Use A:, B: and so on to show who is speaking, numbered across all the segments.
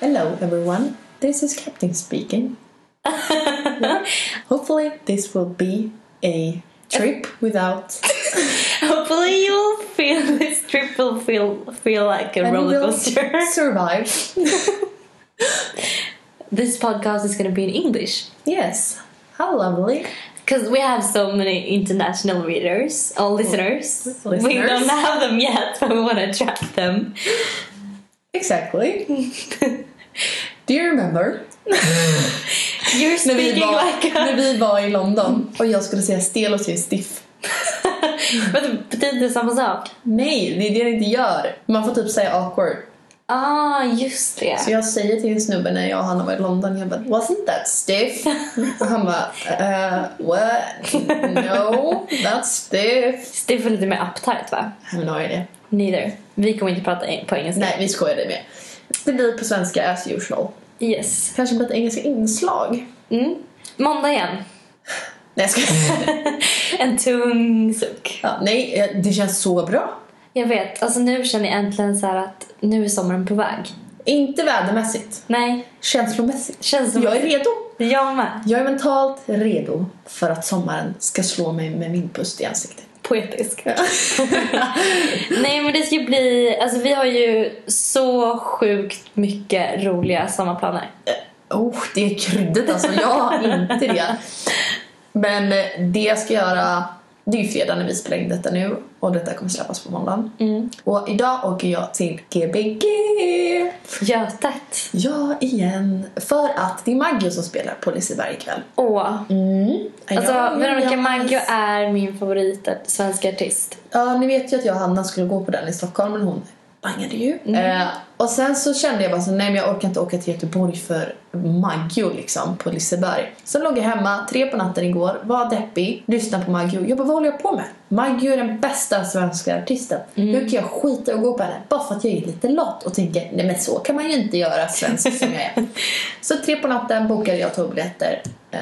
A: Hello, everyone. This is Captain speaking. Hopefully, this will be a trip without
B: Hopefully you'll feel this trip will feel feel like a
A: and we
B: roller
A: will
B: coaster.
A: survive.
B: this podcast is gonna be in English.
A: Yes. How lovely.
B: Because we have so many international readers or listeners. We
A: listeners.
B: don't have them yet, but we want to attract them.
A: Exactly. Do you remember?
B: You're
A: När vi,
B: speaking
A: var,
B: like a...
A: när vi var i London och jag skulle säga stel och säga stiff.
B: Men det betyder inte samma sak.
A: Nej, det är det det inte gör. Man får typ säga awkward.
B: Ah, just det.
A: Så jag säger till en snubbe när jag och han var i London, jag bara “Wasn't that stiff?” och han bara uh, “What? No, that's stiff.”
B: Det är lite mer uptight va?
A: Jag har no idea.
B: Neither. Vi kommer inte prata en- på engelska.
A: Nej, vi skojar dig med. Det blir på svenska as usual.
B: Yes.
A: Kanske med ett engelska inslag. Nej,
B: Mm. Måndag igen.
A: jag skojar.
B: En tung suck.
A: ja, nej, eh, det känns så bra.
B: Jag vet, alltså nu känner jag äntligen så här att nu är sommaren på väg.
A: Inte vädermässigt,
B: Nej,
A: känslomässigt.
B: känns som
A: Jag är redo.
B: jag med.
A: Jag är mentalt redo för att sommaren ska slå mig med vindpust i ansiktet.
B: Poetisk. Nej men det ska bli, alltså vi har ju så sjukt mycket roliga sommarplaner.
A: Oh, det är kryddet alltså. Jag har inte det. Men eh, det jag ska göra, det är ju fredag när vi spelar in detta nu och detta kommer släppas på måndagen. Och idag åker jag till GBG!
B: Götet.
A: Ja, igen. För att det är Maggio som spelar på Liseberg ikväll.
B: Åh.
A: Mm.
B: Alltså
A: Ja,
B: Veronica
A: ja.
B: Maggio är min favorit svenska artist.
A: Ja, ni vet ju att jag och Hanna skulle gå på den i Stockholm men hon bangade ju. Eh, och sen så kände jag bara så nej men jag orkar inte åka till Göteborg för Maggio liksom på Liseberg. Sen låg jag hemma tre på natten igår, var deppig, lyssnade på Maggio. Jag bara vad håller jag på med? Maggio är den bästa svenska artisten. Nu kan jag skita och gå på henne bara för att jag är lite lat och tänker nej men så kan man ju inte göra svensk som jag är. Så tre på natten bokade jag tågbiljetter eh,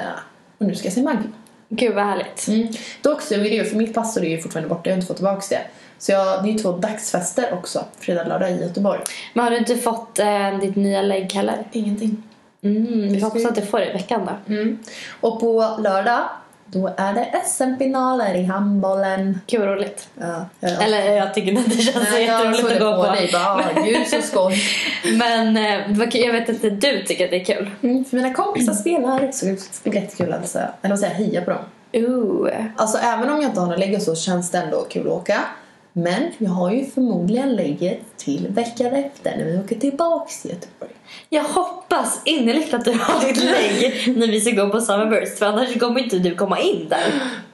A: och nu ska jag se Maggio.
B: Gud vad härligt.
A: Mm. Dock så vill jag, för mitt passord är ju fortfarande borta, jag har inte fått tillbaka det. Så jag, det är ju två dagsfester också, fredag lördag i Göteborg.
B: Men har du inte fått eh, ditt nya lägg heller?
A: Ingenting.
B: Mm, vi
A: ska-
B: hoppas att du får det i veckan då.
A: Mm. Och på lördag, då är det SM-finaler i handbollen.
B: Gud vad roligt.
A: Ja, ja.
B: Eller jag tycker inte det känns så jätteroligt att gå på.
A: dig, bara, ah, gud så skoj.
B: Men eh, vad kul- jag vet inte, du tycker att det är kul.
A: Mm, för mina kompisar spelar, så det blir jättekul att säga, eller vad säger jag, heja på dem.
B: Ooh.
A: Alltså även om jag inte har något lägg och så känns det ändå kul att åka. Men jag har ju förmodligen lägget till veckan efter när vi åker tillbaks till Göteborg.
B: Jag hoppas innerligt att du har ditt lägg när vi ska gå på Summerburst för annars kommer inte du komma in där.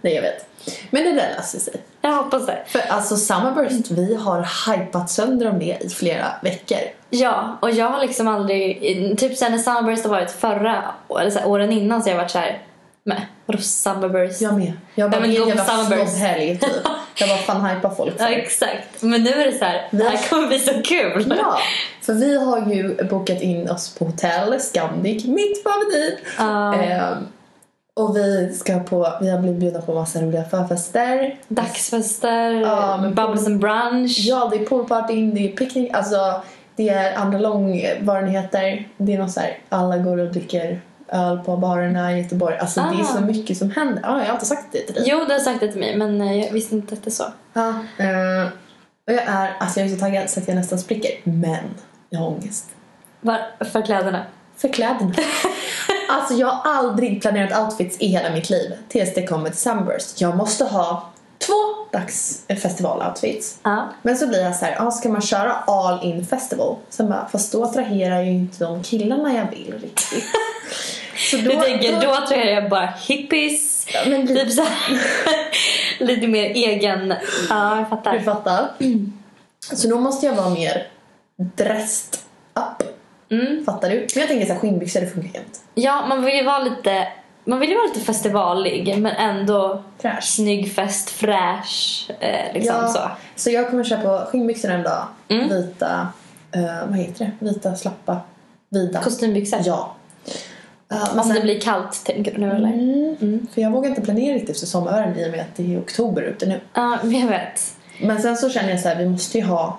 A: Nej, jag vet. Men det där löser sig.
B: Jag hoppas det.
A: För alltså Summerburst, vi har hypat sönder om det i flera veckor.
B: Ja, och jag har liksom aldrig... Typ sen när Summerburst har varit förra eller så här, åren innan så har jag varit så här... Men vadå Summerburst?
A: Jag med. Jag bara,
B: Ja, men
A: vilken
B: gå på
A: jävla
B: Summerburst.
A: snobbhelg typ. Jag bara, fan hypar folk
B: Ja,
A: för.
B: exakt. Men nu är det så här, det här kommer bli så kul.
A: Ja, för vi har ju bokat in oss på hotell, Scandic, mitt favorit.
B: Ja.
A: Ehm, och vi ska på, vi har blivit bjudna på massa roliga förfester.
B: Dagsfester,
A: Ja, men på-
B: Bubbles and Brunch.
A: Ja, det är poolparty, det är picknick, alltså det är andra långvarenheter. Det är något så här, alla går och dricker öl på barerna i Göteborg. Alltså det är så
B: Ah.
A: mycket som händer. Ja, jag har inte sagt det till dig.
B: Jo, du har sagt det till mig men eh, jag visste inte att det är så.
A: Ja. eh, och jag är, alltså jag är så taggad så att jag nästan spricker. Men jag har ångest.
B: Var, för kläderna.
A: För kläderna. alltså jag har aldrig planerat outfits i hela mitt liv. Tills det kommer till Sunburst. Jag måste ha två dags festivaloutfits.
B: Ja.
A: Men så blir jag så här, ah, ska man köra all in festival? Sen bara, fast då attraherar jag ju inte de killarna jag vill riktigt. så då,
B: Du tänker, då tror jag jag bara hippies.
A: Ja, men lite-
B: typ så här, lite mer egen. Ja, jag
A: Du
B: fattar.
A: fattar.
B: Mm.
A: Så då måste jag vara mer dressed up.
B: Mm.
A: Fattar du? Men jag tänker så här, skinnbyxor det funkar jämt.
B: Ja, man vill ju vara lite, man vill ju vara lite festivalig men ändå
A: Fräsch.
B: snygg fest, fräsch. Eh, liksom så. Mm.
A: så jag kommer köpa skinnbyxor en dag. Vita, eh, vad heter det? Vita, slappa, vida.
B: Kostymbyxor.
A: Ja. Eh, men
B: Om Alltså, det
A: sen-
B: blir kallt tänker du nu eller? Ja,
A: Mm, För jag vågar inte planera riktigt för sommaren i och med att det är oktober ute nu.
B: men jag vet.
A: Men sen så känner jag så här, vi måste ju ha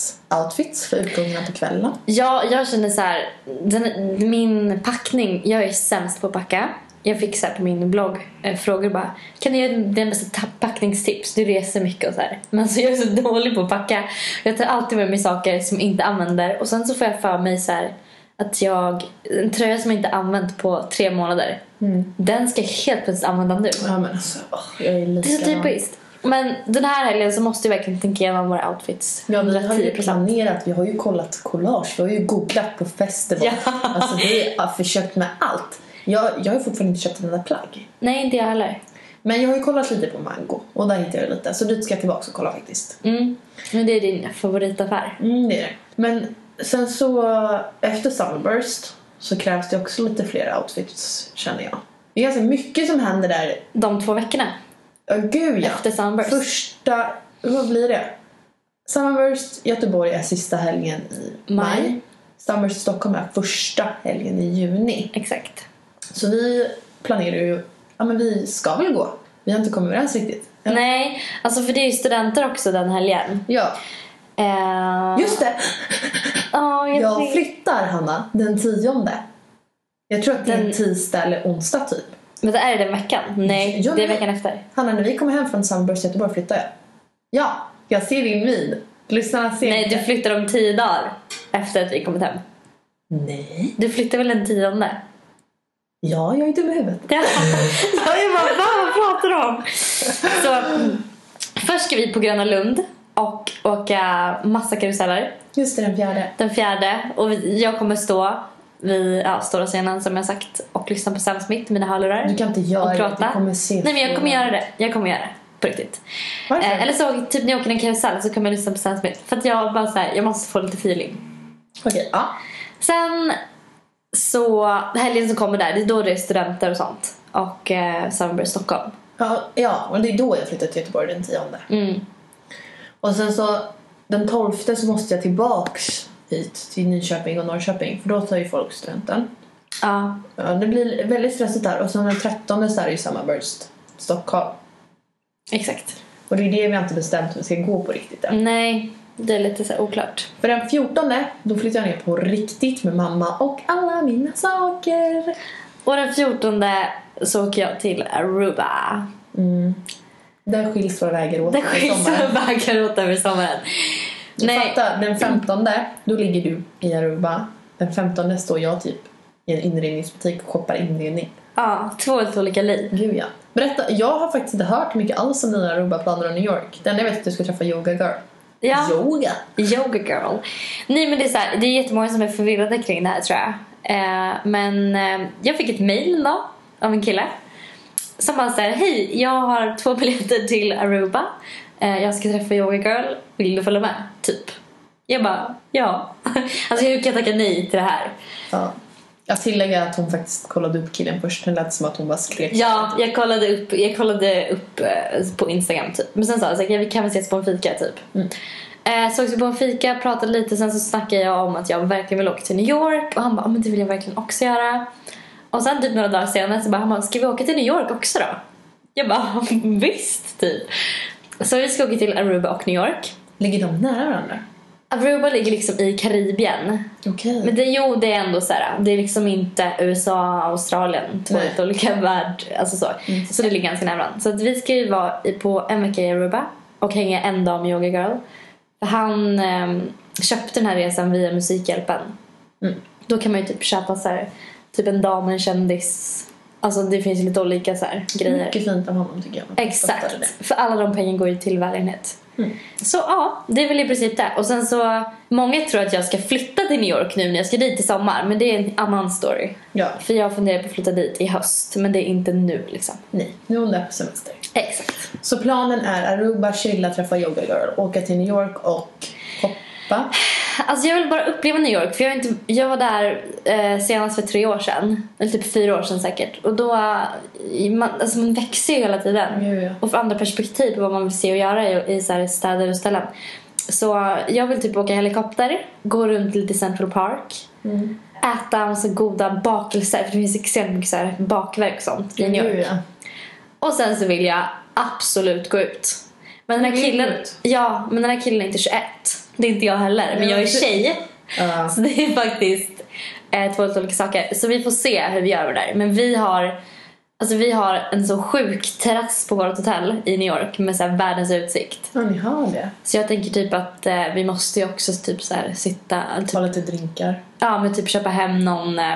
A: kvällsoutfits för utgångarna på kvällen.
B: Ja, jag känner så här, den, min packning, jag är sämst på att packa. Jag fick så här på min blogg eh, frågor bara, kan du ge den bästa ta- packningstips? Du reser mycket och så här. Men så jag är så dålig på att packa. Jag tar alltid med mig saker som jag inte använder och sen så får jag för mig så här att jag, en tröja som jag inte använt på tre månader, den ska jag helt plötsligt använda nu.
A: Ja men alltså, åh, jag är
B: Mm. Det är så
A: likadan.
B: typiskt. Men den här helgen så måste jag verkligen tänka igenom våra outfits. Typ.
A: Ja, vi har ju
B: 110%.
A: planerat, vi har ju kollat collage, vi har ju googlat på festival.
B: Ja.
A: Alltså vi har försökt med allt. Jag, jag har ju fortfarande inte köpt en enda plagg.
B: Nej, inte jag heller.
A: Men jag har ju kollat lite på Mango och där hittade jag lite. Så dit ska jag tillbaka och kolla faktiskt.
B: Mm. Men det är din favoritaffär.
A: Mm, det är det. Men sen så efter Summerburst så krävs det också lite fler outfits känner jag. Det är ganska mycket som händer där.
B: De två veckorna
A: Ja gud ja.
B: efter Sunburst.
A: Första, vad blir det? Summerburst Göteborg är sista helgen i maj.
B: Maj.
A: Summerburst Stockholm är första helgen i juni.
B: Exakt.
A: Så vi planerar ju, ja men vi ska väl gå. Vi har inte kommit överens riktigt. Ja.
B: Nej, alltså för det är ju studenter också den helgen.
A: Ja,
B: Eh,
A: just det!
B: ja, jag
A: Jag
B: tänk-
A: flyttar Hanna den tionde. Jag tror att det är
B: Den-
A: tisdag eller onsdag typ.
B: Men det är det den veckan? Nej,
A: Ja,
B: det är
A: men-
B: veckan efter.
A: Hanna när vi kommer hem från Summerburst Göteborg flyttar jag. Ja, jag ser din min. Lyssnarna ser
B: Nej,
A: inte.
B: du flyttar om tio dagar efter att vi kommit hem.
A: Nej.
B: Du flyttar väl den tionde?
A: Ja, jag är dum i huvudet.
B: Ja. jag bara, vad pratar du om? Så, mm, först ska vi på Gröna Lund och åka massa karuseller.
A: Just det, den fjärde.
B: Den fjärde. Och vi, jag kommer stå vid ja, stora scenen som jag sagt och lyssna på Sam Smith, mina hörlurar.
A: Du kan inte göra
B: Och
A: det.
B: prata.
A: Du kommer se
B: Nej men jag
A: fel.
B: kommer göra det. Jag kommer göra det. På riktigt.
A: Varför?
B: Eh, eller så typ när jag åker i en karusell så kommer jag lyssna på Sam Smith. För att jag bara så här, jag måste få lite feeling.
A: Okej, ja.
B: Sen så helgen som kommer där, det är då det är studenter och sånt. Och eh, Summerburst Stockholm.
A: ja. Ja, och det är då jag flyttar till Göteborg den tionde.
B: Mm.
A: Och sen så den tolfte så måste jag tillbaks hit till Nyköping och Norrköping för då tar ju folk studenten.
B: Ja.
A: Ja, det blir väldigt stressigt där och sen den trettonde så är det ju Summerburst Stockholm.
B: Exakt.
A: Och det är det vi har inte bestämt hur vi ska gå på riktigt än.
B: Nej, det är lite så här oklart.
A: För den fjortonde då flyttar jag ner på riktigt med mamma och alla mina saker.
B: Och den 14 så åker jag till Aruba.
A: Mm. Där skiljs våra vägar åt
B: Det
A: för
B: skiljs
A: sommaren.
B: vägar åt över sommaren. Nej,
A: Fatta, den 15 då ligger du i Aruba. Den 15 står jag typ i en inredningsbutik och shoppar inredning.
B: ja, två helt olika liv.
A: Gud ja. Berätta, jag har faktiskt inte hört mycket alls om dina Aruba-planer och New York. Den jag vet är att du ska träffa Yoga Girl.
B: Ja,
A: Yoga?
B: yoga girl. Nej men det är så här, det är jättemånga som är förvirrade kring det här tror jag. Eh, men eh, jag fick ett mail en dag av en kille. Som bara säger hej jag har två biljetter till Aruba. Eh, jag ska träffa yoga girl, vill du följa med? Typ. Jag bara, ja. alltså hur kan jag tacka nej till det här?
A: Ja. Jag tillägger att hon faktiskt kollade upp killen först. Det lät som att hon bara skrek.
B: Ja, jag kollade upp, jag kollade upp eh, på Instagram typ. Men sen sa jag så här, vi kan väl ses på en fika typ. Eh, sågs vi på en fika, pratade lite, sen så snackade jag om att jag verkligen vill åka till New York. Och han bara, "Ja, men det vill jag verkligen också göra. Och sen typ några dagar senare så bara, han bara, ska vi åka till New York också då? Jag bara, visst typ. Så vi ska åka till Aruba och New York.
A: Ligger de nära varandra?
B: Aruba ligger liksom i Karibien.
A: Okej.
B: Men det, jo, det är ändå så här. Det är liksom inte USA och Australien. Två
A: Nej. Mm.
B: helt olika värld. Alltså så. så det ligger ganska nära varandra. Så att vi ska ju vara i- på en vecka i Aruba och hänga en dag med Yoga Girl. För han ehm, köpte den här resan via Musikhjälpen.
A: Mm.
B: Då kan man ju typ köpa så här, typ en dag med en kändis. Alltså det finns ju lite olika så här, grejer.
A: Mycket fint av honom tycker jag. Fattade det.
B: Exakt. För alla de pengarna går ju till välgörenhet.
A: Mm.
B: Så ja, det är väl i princip det. Och sen så, många tror att jag ska flytta till New York nu när jag ska dit i sommar. Men det är en annan story.
A: Ja,
B: För jag funderar på att flytta dit i höst. Men det är inte nu liksom.
A: nej. Nu är hon där på semester.
B: Exakt.
A: Så planen är Aruba, chilla, träffa Yoga Girl, åka till New York och hoppa.
B: Alltså jag vill bara uppleva New York. För jag, har inte, jag var där eh, senast för tre år sedan. Eller typ fyra år sedan säkert. Och då, eh, man, alltså man växer ju hela tiden.
A: Jo, ja.
B: och få andra perspektiv på vad man vill se och göra i, i så här städer och ställen. Så jag vill typ åka helikopter, gå runt lite i Central Park,
A: Mm.
B: äta massa goda bakelser för det finns extremt mycket så här bakverk och sånt i New York.
A: Jo, ja.
B: Och sen så vill jag absolut gå ut. Men den här
A: Du vill
B: killen,
A: gå ut?
B: ja, men den här killen är inte 21. Det är inte jag heller, men jag är
A: men du-
B: tjej.
A: Ja.
B: Så Alltså, det är faktiskt eh, två helt olika saker. Så vi får se hur vi gör med det där. Men vi har, alltså vi har en så sjuk terrass på vårt hotell i New York med så här världens utsikt.
A: Ja, ni har det.
B: Så jag tänker typ att eh, vi måste ju också typ så här sitta, typ,
A: Ta lite drinkar.
B: ja men typ köpa hem någon, eh,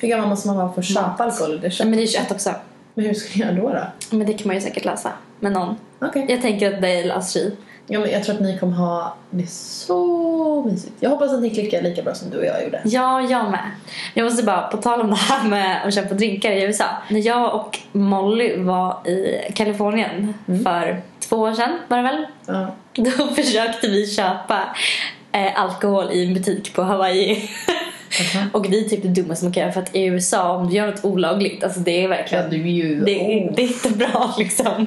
A: Hur gammal måste man vara för att köpa alkohol? Det
B: ja,
A: köper.
B: men det är 21 också.
A: Men hur ska jag göra då? då?
B: Men det kan man ju säkert lösa med någon.
A: Okej.
B: Jag tänker att det löser vi.
A: Ja, men jag tror att ni kommer ha det så mysigt. Jag hoppas att ni klickar lika bra som du och jag gjorde.
B: Ja, jag med. Jag måste bara, på tal om det här med att köpa drinkar i USA. När jag och Molly var i Kalifornien för två år sedan var det väl?
A: Ja.
B: Då försökte vi köpa eh, alkohol i en butik på Hawaii. och det är typ det dummaste man kan göra för att i USA om du gör något olagligt, alltså det är verkligen
A: du oh. ju...
B: det, det är inte bra liksom.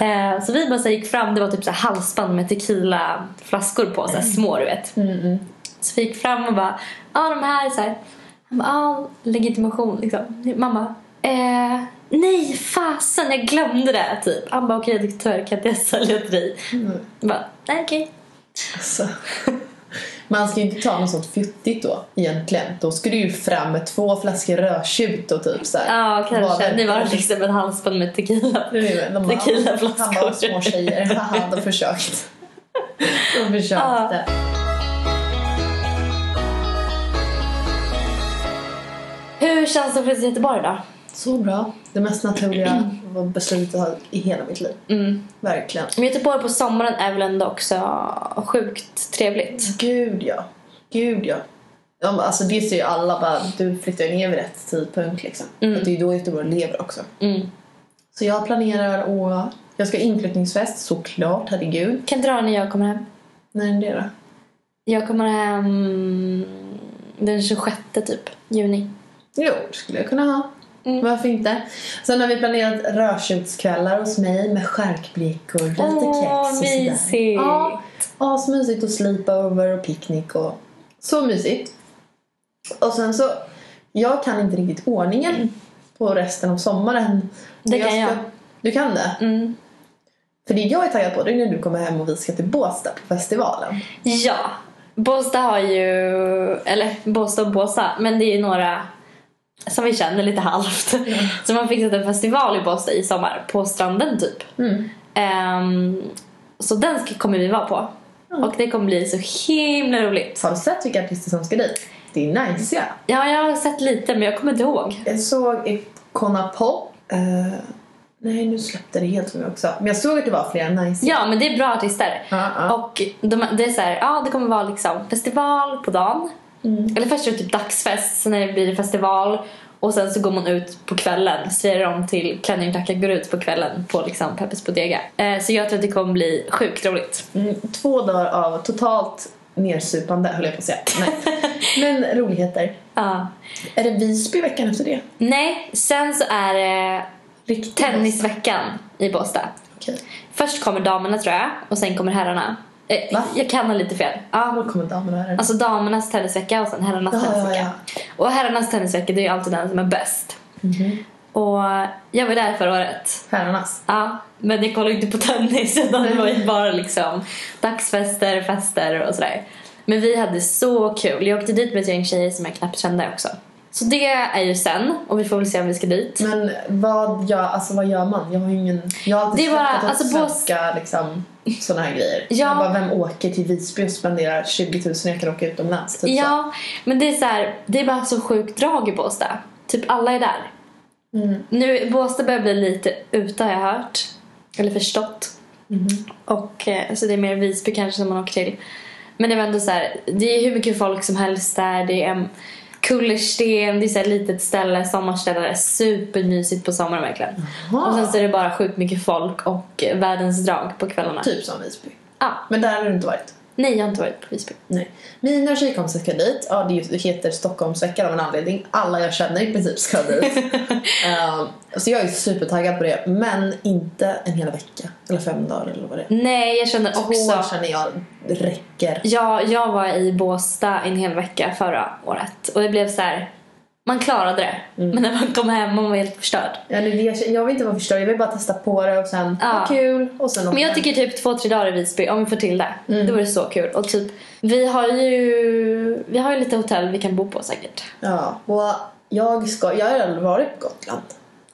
B: eh, så vi bara så här, gick fram, det var typ så här, halsband med tequilaflaskor på, så här, små du vet.
A: Mm.
B: Så vi gick fram och bara, ja de här är så här. Han bara, ja legitimation liksom. Mamma, eh, nej fasen jag glömde det typ. Han bara, okej okay, tyvärr kan inte jag sälja till dig. Jag bara, nej okej.
A: Alltså. Man ska ju inte ta något sånt fjuttigt då egentligen. Då ska du ju fram med två flaskor rödtjut och typ såhär.
B: Ja kanske.
A: Var-
B: Ni var liksom ett halsband med tequila.
A: Det är väl- de bara,
B: Tequilaflaskor.
A: Han bara små tjejer. Haha, de försökt. De försökte.
B: Hur känns det att flytta till Göteborg då?
A: Så bra. Det mest naturliga beslutet jag har i hela mitt liv.
B: Mm.
A: Verkligen.
B: Men Göteborg på sommaren är väl ändå också sjukt trevligt.
A: Gud ja. Gud ja. Ja, men Alltså det ser ju alla bara, du flyttar ju ner vid rätt tidpunkt liksom. För det är ju då Göteborg lever också.
B: Mm.
A: Så jag planerar att, jag ska ha inflyttningsfest såklart, herregud.
B: Kan dra när jag kommer hem.
A: När är det då?
B: Jag kommer hem den 26 typ, juni.
A: Jo, det skulle jag kunna ha.
B: Mm.
A: Varför inte? Sen har vi planerat rödtjutskvällar hos mig med skärkbrickor, lite
B: Åh,
A: kex och sådär.
B: mysigt.
A: Ja, asmysigt och sleepover och picknick och så mysigt. Och sen så, jag kan inte riktigt ordningen på resten av sommaren.
B: Mm. Det kan jag.
A: Du kan det?
B: Mm.
A: För det jag är taggad på det är när du kommer hem och vi ska till Båstad på festivalen.
B: Ja, Båstad har ju... Eller Båstad och Båstad, men det är ju några som vi känner lite halvt. Så man fixat en festival i Båstad i sommar, på stranden typ.
A: Mm.
B: Ehm, så den ska, kommer vi vara på. Och det kommer bli så himla roligt.
A: Har du sett vilka artister som ska dit? Det är nice ja.
B: Ja, jag har sett lite men jag kommer inte ihåg.
A: Jag såg i Konapop. Eh, nej, nu släppte det helt för mig också. Men jag såg att det var flera nice.
B: Ja, men det är bra artister.
A: Ja, ja.
B: Och de, det är så här, ja det kommer vara liksom festival på dagen. Eller först är det typ dagsfest, sen är det, blir det festival. Och sen så går man ut på kvällen, svirar om till klänningsklackarna, går ut på kvällen på liksom Peppes Bodega. Eh, så jag tror att det kommer bli sjukt roligt.
A: Mm, två dagar av totalt nersupande, höll jag på att säga. Nej. Men roligheter.
B: Ja.
A: Är det Visby veckan efter det?
B: Nej, sen så är det
A: Riktigt
B: tennisveckan i Båstad.
A: Okej.
B: Först kommer damerna tror jag, och sen kommer herrarna. Eh,
A: Va?
B: Jag kan ha lite fel. Ja,
A: Då kommer damerna här.
B: Alltså damernas tennisvecka och sen herrarnas
A: Ja, ja,
B: tennisvecka. Och herrarnas tennisvecka det är ju alltid den som är bäst. Och jag var där förra året.
A: Mhm. Herrarnas.
B: Ja, men jag kollade inte på tennis utan det var ju
A: Mm.
B: bara liksom dagsfester, fester och sådär. Men vi hade så kul. Jag åkte dit med ett gäng tjejer som jag knappt kände också. Så det är ju sen och vi får väl se om vi ska dit.
A: Men vad gör, alltså, vad gör man? Jag har ju ingen... Jag har alltid
B: Det är bara-
A: skrattat åt
B: alltså, på-
A: svenska liksom, sådana här grejer.
B: Ja.
A: Jag bara, vem åker till Visby och spenderar 20 000 jag kan åka utomlands? Typ så.
B: Ja, men det är så här, det är bara så sjukt drag i Båstad. Typ alla är där.
A: Mm.
B: Nu, Båstad börjar bli lite ute har jag hört. Eller förstått.
A: Mm-hmm.
B: Och, eh, så det är mer Visby kanske som man åker till. Men det var ändå så här, det är hur mycket folk som helst där. Det är en kullersten, det är så här litet ställe, sommarställe. Det är supermysigt på sommaren verkligen.
A: Jaha.
B: Och sen så är det bara sjukt mycket folk och eh, världens drag på kvällarna.
A: Typ som Visby.
B: Ja.
A: Men där har du inte varit?
B: Nej, jag har inte varit på Visby.
A: Nej. Mina tjejkompisar ska dit. Ja, det just- det heter Stockholmsveckan av en anledning. Alla jag känner i princip ska dit. Ehm, så jag är supertaggad på det. Men inte en hel vecka. Eller fem dagar eller vad det är.
B: Nej, jag känner också...
A: Två känner jag räcker.
B: Ja, jag var i Båstad en hel vecka förra året och det blev så här. Man klarade det. Men när man kom hem man var helt förstörd.
A: Ja, nu vet jag, jag vill inte vara förstörd, jag vill bara testa på det och sen,
B: Ja.
A: vad kul! Och sen
B: Men
A: åka
B: jag tycker typ två, tre dagar i Visby, om vi får till det. Då var det så kul. Och typ, vi har ju, vi har ju lite hotell vi kan bo på säkert.
A: Ja, och jag ska... Jag har aldrig varit på Gotland.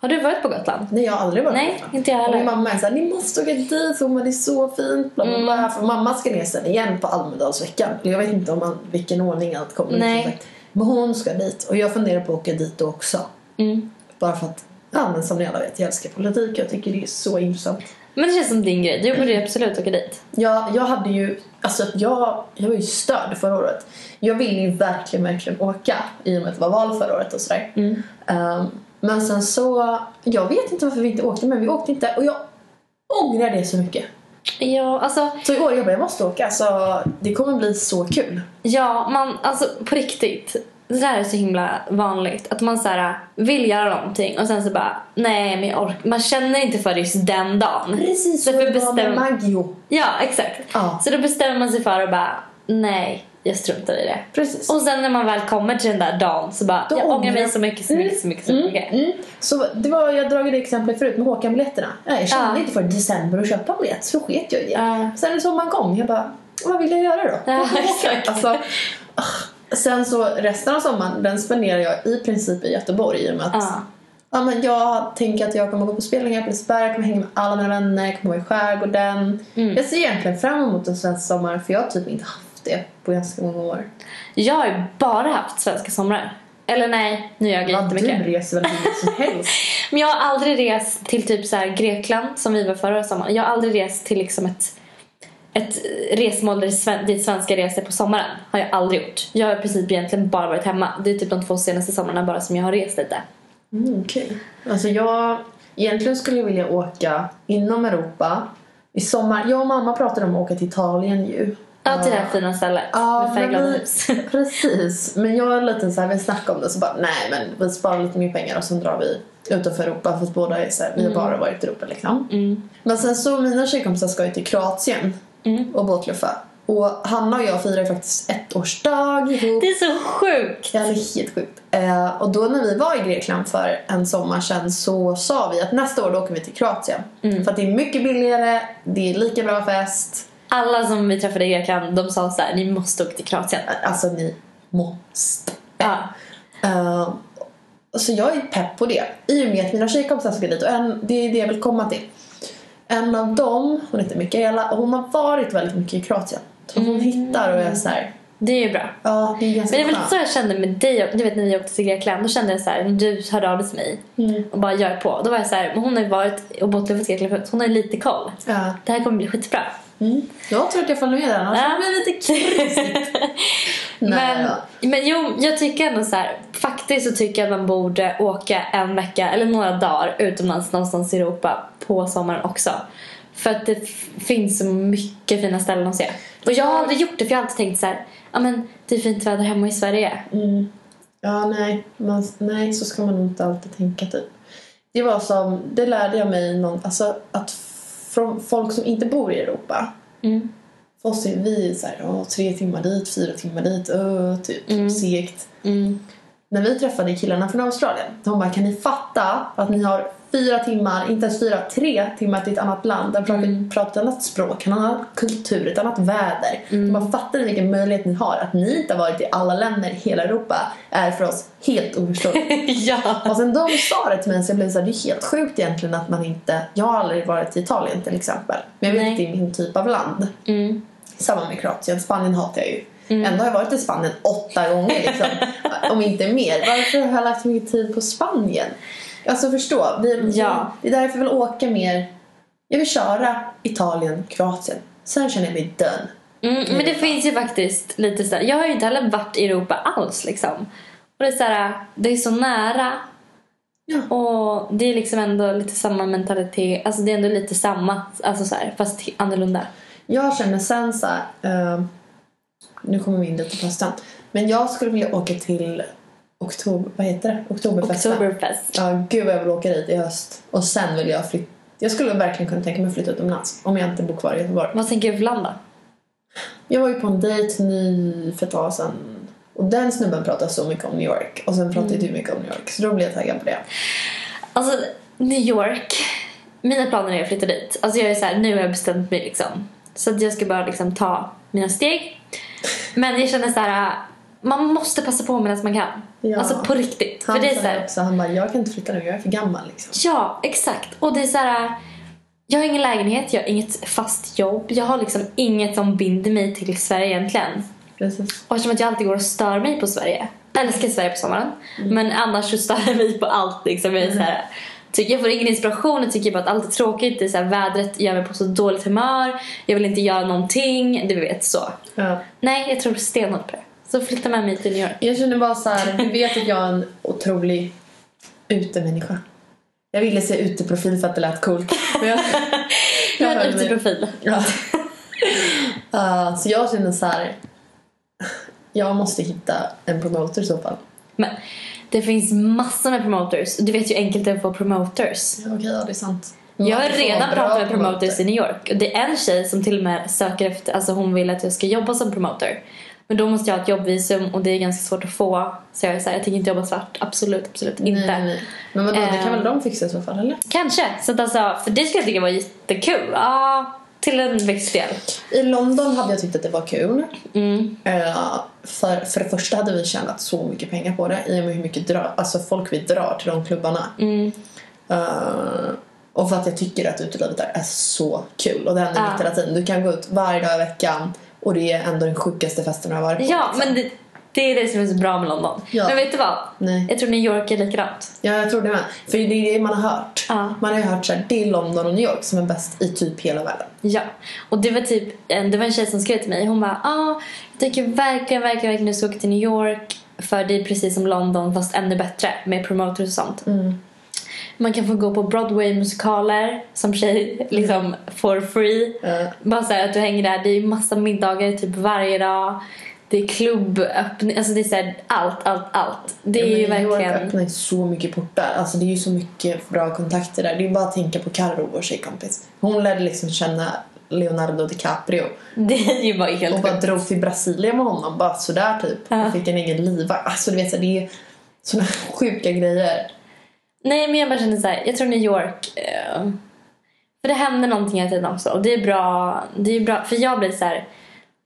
B: Har du varit på Gotland?
A: Nej, jag har aldrig varit på
B: Nej,
A: Gotland.
B: inte jag
A: Och min
B: heller.
A: mamma är såhär, ni måste åka dit, hon bara, det är så fint, bla bla bla. För mamma ska ner sen igen på Almedalsveckan. Jag vet inte om man, vilken ordning allt kommer
B: Nej.
A: ut, som sagt. Men hon ska dit och jag funderar på att åka dit då också.
B: Mm.
A: Bara för att, ja men som ni alla vet, jag älskar politik jag tycker det är så intressant.
B: Men det känns som din grej. Du borde ju absolut åka dit.
A: Jag, jag hade ju, alltså att jag, jag var ju störd förra året. Jag ville ju verkligen, verkligen åka i och med att det var val förra året och sådär. Ehm, men sen så, jag vet inte varför vi inte åkte men vi åkte inte och jag ångrar det så mycket.
B: Ja, alltså,
A: Så i år, jag bara, jag måste åka. Alltså, det kommer bli så kul.
B: ja, man, alltså på riktigt. Det där är så himla vanligt. Att man så här, vill göra någonting och sen så bara, nej men jag orkar. Man känner inte för det just den dagen. Därför
A: det var med
B: bestämmer
A: Maggio.
B: Ja, exakt.
A: Ja.
B: Så då bestämmer man sig för att bara, nej, jag struntar i det.
A: Precis.
B: Och sen när man väl kommer till den där dagen så bara,
A: Då
B: jag ångrar
A: ångrar-
B: mig så mycket, så
A: Mm,
B: mycket, så mycket, så mycket.
A: Mm. Så det var, jag drog det exemplet förut med Håkan-biljetterna. Nej, Jag kände
B: Ja.
A: inte för december att köpa biljett så sket jag i det.
B: Ja.
A: Sen såg man igång. Jag bara, vad vill jag göra då?
B: Ja,
A: Jag vill åka.
B: exakt.
A: Alltså, ah. sen så resten av sommaren den spenderar jag i princip i Göteborg i och med att
B: Ja.
A: Ja, men jag tänker att jag kommer gå på spelningar på Liseberg, jag kommer hänga med alla mina vänner, jag kommer vara i skärgården. Jag ser egentligen fram emot en svensk sommar för jag har typ inte haft det på ganska många år.
B: Jag har ju bara haft svenska somrar. Eller nej, nu ljög jag
A: Ja, du
B: jättemycket.
A: reser väl hur mycket som helst?
B: Men jag har aldrig rest till typ så här Grekland som vi var förra sommaren. Jag har aldrig rest till liksom ett, ett eh, resmål där sven- dit svenskar reser på sommaren. Har jag aldrig gjort. Jag har i princip egentligen bara varit hemma. Det är typ de två senaste somrarna bara som jag har rest lite.
A: Mm, Okej. Alltså jag... Egentligen skulle jag vilja åka inom Europa i sommar. Jag och mamma pratade om att åka till Italien ju.
B: Ja, till det här fina stället
A: Ja,
B: med
A: men
B: färgglada
A: vi-
B: hus.
A: Precis. Men jag är lite så här, vi snackade om det så bara nej men vi sparar lite mer pengar och sen drar vi utanför Europa för att båda är så här, vi har bara varit i Europa liksom.
B: Mm.
A: Men sen så mina tjejkompisar ska ju till Kroatien
B: Mm.
A: och båtluffa. Och Hanna och jag firar ju faktiskt ettårsdag ihop.
B: Det är så sjukt!
A: Ja, det är helt sjukt. Eh, och då när vi var i Grekland för en sommar sedan så sa vi att nästa år då åker vi till Kroatien.
B: Mm.
A: För att det är mycket billigare, det är lika bra fest.
B: Alla som vi träffade i Grekland de sa så här, ni måste åka till Kroatien.
A: Alltså ni måste.
B: Ja.
A: Eh, så jag är pepp på det. I och med att mina tjejkompisar ska dit och en, det är det jag vill komma till. En av dem, hon heter Mikaela, och hon har varit väldigt mycket i Kroatien. Så hon hittar och är såhär,
B: Det är ju bra.
A: ja det är ganska
B: Mm. Men det är väl
A: skönt.
B: lite så jag kände med dig. Du vet när vi åkte till Grekland, då kände jag så här, när du hörde av dig till mig
A: Mm.
B: och bara jag är på. Då var jag så här, men hon har ju varit och bottluffat i Grekland förut, hon har ju lite koll.
A: Ja.
B: Det här kommer bli skitbra.
A: Mm. Jag tror att jag följer med där, annars
B: Ja.
A: blir det lite krisigt.
B: Men,
A: Nej,
B: men jo, jag tycker ändå så här, faktiskt så tycker jag att man borde åka en vecka eller några dagar utomlands någonstans i Europa på sommaren också. För att det f- finns så mycket fina ställen att se. Och jag har aldrig gjort det för jag har alltid tänkt så här, ja men det är fint väder hemma i Sverige.
A: Mm. Ja, nej. Man, nej, så ska man nog inte alltid tänka typ. Det var som, det lärde jag mig någon, alltså att från folk som inte bor i Europa.
B: Mm.
A: För oss är vi så här, åh, tre timmar dit, fyra timmar dit, öh, typ segt.
B: Mm.
A: När vi träffade killarna från Australien, de bara kan ni fatta att ni har fyra timmar, inte ens fyra, tre timmar till ett annat land. De pratar, pratar ett annat språk, en annan kultur, ett annat väder. De bara fattar ni vilken möjlighet ni har? Att ni inte har varit i alla länder i hela Europa är för oss helt oförståeligt.
B: ja.
A: Och sen de sa det till mig så jag blev såhär, det är helt sjukt egentligen att man inte, jag har aldrig varit i Italien till exempel. Men jag vet
B: Nej.
A: att det är min typ av land.
B: Mm.
A: Samma med Kroatien, Spanien hatar jag ju. Ändå har jag varit i Spanien åtta gånger liksom. om inte mer. Varför har jag lagt mycket tid på Spanien? Alltså förstå, vi,
B: Ja.
A: det är därför jag vill åka mer. Jag vill köra Italien, Kroatien. Sen känner jag mig done.
B: Mm, men det finns ju faktiskt lite sådär. Jag har ju inte heller varit i Europa alls liksom. Och det är såhär, det är så nära.
A: Ja.
B: Och det är liksom ändå lite samma mentalitet. Alltså det är ändå lite samma. Alltså såhär, fast annorlunda.
A: Jag känner sen så här, eh, nu kommer vi in lite på hösten. Men jag skulle vilja åka till oktober, vad heter det? Oktoberfesten.
B: Oktoberfest.
A: Ja, gud vad jag vill åka dit i höst. Och sen vill jag flytta. Jag skulle verkligen kunna tänka mig att flytta utomlands om jag inte bor kvar i Göteborg.
B: Vad tänker du för land då?
A: Jag var ju på en dejt ny för ett tag sedan. Och den snubben pratar så mycket om New York och sen pratar ju du mycket om New York så då blir jag taggad på det.
B: Alltså, New York. Mina planer är att flytta dit. Alltså jag är så här, nu har jag bestämt mig liksom. Så att jag ska bara liksom ta mina steg. Men jag känner så här, äh, man måste passa på medan man kan.
A: Ja.
B: Alltså på riktigt.
A: Han
B: För det är
A: sa
B: så här,
A: ju också, han bara jag kan inte flytta nu, jag är för gammal liksom.
B: Ja, exakt. Och det är så här. Jag har ingen lägenhet, jag har inget fast jobb. Jag har liksom inget som binder mig till Sverige egentligen.
A: Precis.
B: Och eftersom att jag alltid går och stör mig på Sverige. Jag älskar Sverige på sommaren. Men annars så stör jag mig på allt liksom. Jag, är så här, tycker jag får ingen inspiration, jag tycker bara att allt är tråkigt. Det är så här, vädret gör mig på så dåligt humör. Jag vill inte göra någonting. Du vet så.
A: Ja.
B: Nej, jag tror stenhårt på det. Så flytta med mig till New York.
A: Jag känner bara så här, du vet att jag är en otrolig utemänniska. Jag ville säga uteprofil för att det lät coolt. Men jag,
B: Du har
A: hör
B: en typ
A: mig.
B: uteprofil.
A: Ja. Ah, så jag känner så här. Jag måste hitta en promoter i så fall.
B: Men det finns massor med promoters. Du vet ju hur enkelt det är att få promoters.
A: Ja, Okej, ja det är sant.
B: Jag har
A: Man får
B: redan
A: bra
B: pratat med promoters i
A: promoter.
B: New York. Och det är en tjej som till och med söker efter, alltså hon vill att jag ska jobba som promoter. Men då måste jag ha ett jobbvisum och det är ganska svårt att få. Så jag är såhär, jag tänker inte jobba svart. Absolut, absolut inte.
A: Nej, nej, nej. Men vadå, det kan
B: Ehm.
A: väl de fixa i så fall eller?
B: Kanske. Så att alltså, för det skulle jag tycka var jättekul. Ja, till en viss del.
A: I London hade jag tyckt att det var kul.
B: Mm.
A: Eh, för, för det första hade vi tjänat så mycket pengar på det i och med hur mycket dra, alltså folk vi drar till de klubbarna.
B: Mm.
A: Eh, och för att jag tycker att utelivet där är så kul och det händer
B: Ja.
A: mitt hela tiden. Du kan gå ut varje dag i veckan och det är ändå den sjukaste festen jag har varit på.
B: Ja,
A: liksom.
B: men det, det är det som är så bra med London.
A: Ja.
B: Men vet du vad?
A: Nej.
B: Jag tror New York är likadant.
A: Ja, jag tror det med. För det är det man har hört.
B: Ja.
A: Man har ju hört såhär, det är London och New York som är bäst i typ hela världen.
B: Ja, och det var typ en, det var en tjej som skrev till mig. Hon bara ah, jag tycker verkligen, verkligen, verkligen du ska åka till New York. För det är precis som London fast ännu bättre med promoters och sånt.
A: Mm.
B: Man kan få gå på Broadway-musikaler som tjej liksom for free.
A: Eh,
B: Bara så här att du hänger där. Det är ju massa middagar typ varje dag. Det är klubböppning, alltså det är så här, allt, allt, allt. Det är
A: men
B: ju
A: New York
B: verkligen...
A: öppnar ju så mycket portar. Alltså det är ju så mycket bra kontakter där. Det är bara att tänka på Carro, vår tjejkompis. Hon lärde liksom känna Leonardo DiCaprio
B: Det är ju bara helt
A: och bara
B: sjukt.
A: drog till Brasilien med honom bara sådär typ.
B: Ja.
A: Och fick en egen livvakt. Alltså du vet så här, det är sådana sjuka grejer.
B: Nej men jag bara känner så här, jag tror New York. eh, för det händer någonting hela tiden också. Och det är bra. Det är bra för jag blir så här.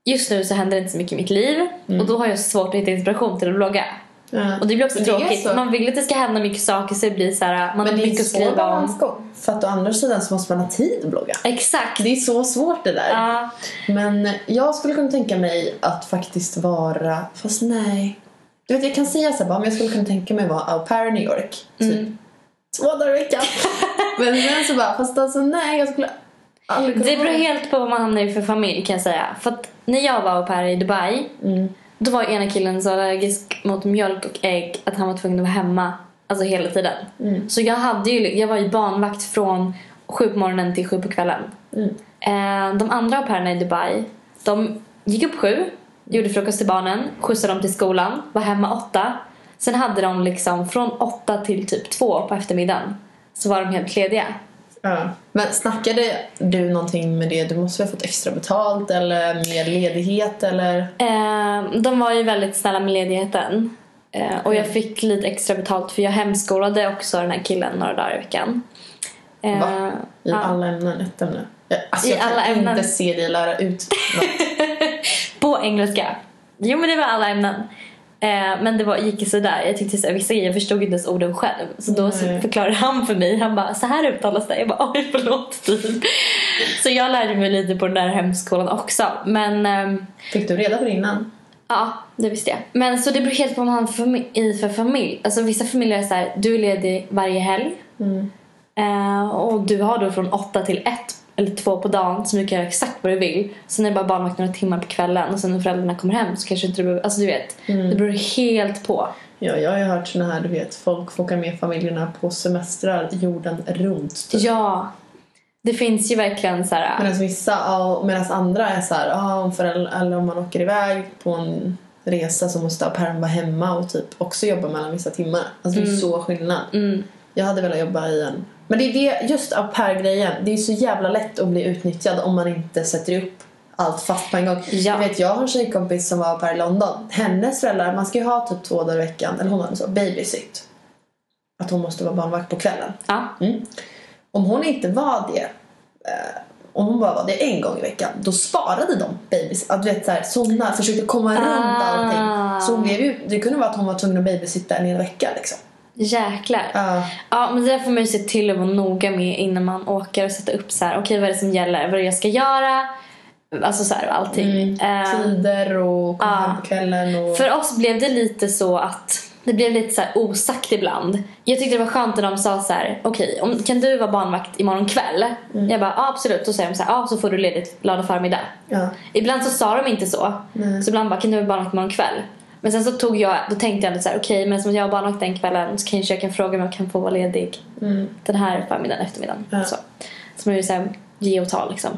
B: Just nu så händer det inte så mycket i mitt liv.
A: Mm.
B: Och då har jag svårt att hitta inspiration till att blogga.
A: Ja.
B: Och det blir också
A: Men det är
B: tråkigt.
A: så.
B: Man vill att det ska hända mycket saker så det blir så här. Man har
A: Men det är
B: mycket
A: ju
B: att
A: svår
B: skriva om.
A: balansgång. För att å andra sidan så måste man ha tid att blogga.
B: Exakt.
A: Det är så svårt det där.
B: Ja.
A: Men jag skulle kunna tänka mig att faktiskt vara... Fast nej. Du vet, jag kan säga så här, bara, men jag skulle kunna tänka mig vara au pair i New York. Typ
B: Mm.
A: två dagar i veckan. men sen så bara, fast alltså nej, jag skulle aldrig kunna...
B: Det beror
A: vara-
B: helt på vad man hamnar i för familj kan jag säga. För att när jag var au pair i Dubai.
A: Mm.
B: Då var ena killen så allergisk mot mjölk och ägg att han var tvungen att vara hemma alltså hela tiden.
A: mm.
B: Så jag, hade ju, jag var ju barnvakt från sju på morgonen till sju på kvällen.
A: Mm.
B: Eh, de andra au pairerna i Dubai, de gick upp sju, gjorde frukost till barnen, skjutsade dem till skolan, var hemma åtta. Sen hade de liksom från åtta till typ två på eftermiddagen så var de helt lediga.
A: Ja. Men snackade du någonting med det? Du måste väl ha fått extra betalt eller mer ledighet eller?
B: Eh, de var ju väldigt snälla med ledigheten. Eh, och jag
A: Mm.
B: fick lite extra betalt för jag hemskolade också den här killen några dagar i veckan. Eh,
A: Va? I
B: ja.
A: alla ämnen, ett ämne. Jag- Alltså,
B: I
A: jag
B: alla
A: kan inte
B: ämnen.
A: se dig lära ut något.
B: På engelska. Jo men det var alla ämnen. Eh, men det var, gick ju sådär. Jag tyckte såhär, vissa grejer, jag förstod inte ens orden själv. Så då så
A: Nej.
B: förklarade han för mig. Han bara, så här uttalas det. Jag bara, oj förlåt. Typ. så jag lärde mig lite på den där hemskolan också. Men ehm,
A: Fick du reda på det innan?
B: Ja, det visste jag. Men så det beror helt på vad man har fami- i för familj. Alltså vissa familjer är så här, du är ledig varje helg.
A: Mm.
B: Eh, och du har då från åtta till ett eller två på dagen så du kan göra exakt vad du vill. Sen är det bara barnvakt några timmar på kvällen och sen när föräldrarna kommer hem så kanske inte du behöver, alltså du vet. Det beror helt på.
A: Ja, jag har ju hört såna här, du vet, folk får åka med familjerna på semestrar jorden runt. Typ.
B: Ja, det finns ju verkligen så här.
A: Medan vissa, ja, medan andra är så här, ja, om föräldrar, eller om man åker iväg på en resa så måste au pairen vara hemma och typ också jobba mellan vissa timmar. Alltså det är så skillnad. Jag hade velat jobba i en... Men det är det, just au pair-grejen, det är ju så jävla lätt att bli utnyttjad om man inte sätter upp allt fast på en gång.
B: Ja.
A: Jag vet, jag har en tjejkompis som var bara i London. Hennes föräldrar, man ska ju ha typ två dagar i veckan, eller hon hade så, babysitt. Att hon måste vara barnvakt på kvällen.
B: Ja.
A: Om hon inte var det, eh, om hon bara var det en gång i veckan, då sparade de babys. Att du vet såhär, så hon försökte komma
B: Ah.
A: runt allting. Så hon blev ju, det kunde vara att hon var tvungen att babysitta en hel vecka liksom.
B: Jäklar.
A: Ja.
B: Ja, men det där får man ju se till att vara noga med innan man åker och sätta upp så här. Okej, vad är det som gäller? Vad är det jag ska göra? Alltså så här och allting.
A: Mm.
B: Eh,
A: Tider och komma
B: ja.
A: hem på kvällen och...
B: För oss blev det lite så att det blev lite så här osagt ibland. Jag tyckte det var skönt när de sa så här, okej, om kan du vara barnvakt imorgon kväll?
A: Mm.
B: Jag bara, ja absolut. Då säger de så här, ja så får du ledigt lördag förmiddag.
A: Ja.
B: Ibland så sa de inte så.
A: Nej.
B: Så ibland bara, kan du vara barnvakt imorgon kväll? Men sen så tog jag, då tänkte jag lite så här, okej, men som jag var barnvakt den kvällen så kanske jag kan fråga om jag kan få vara ledig
A: Mm.
B: den här förmiddagen, eftermiddagen.
A: Ja. Mm.
B: Så. så man är ju så här, ge och ta liksom.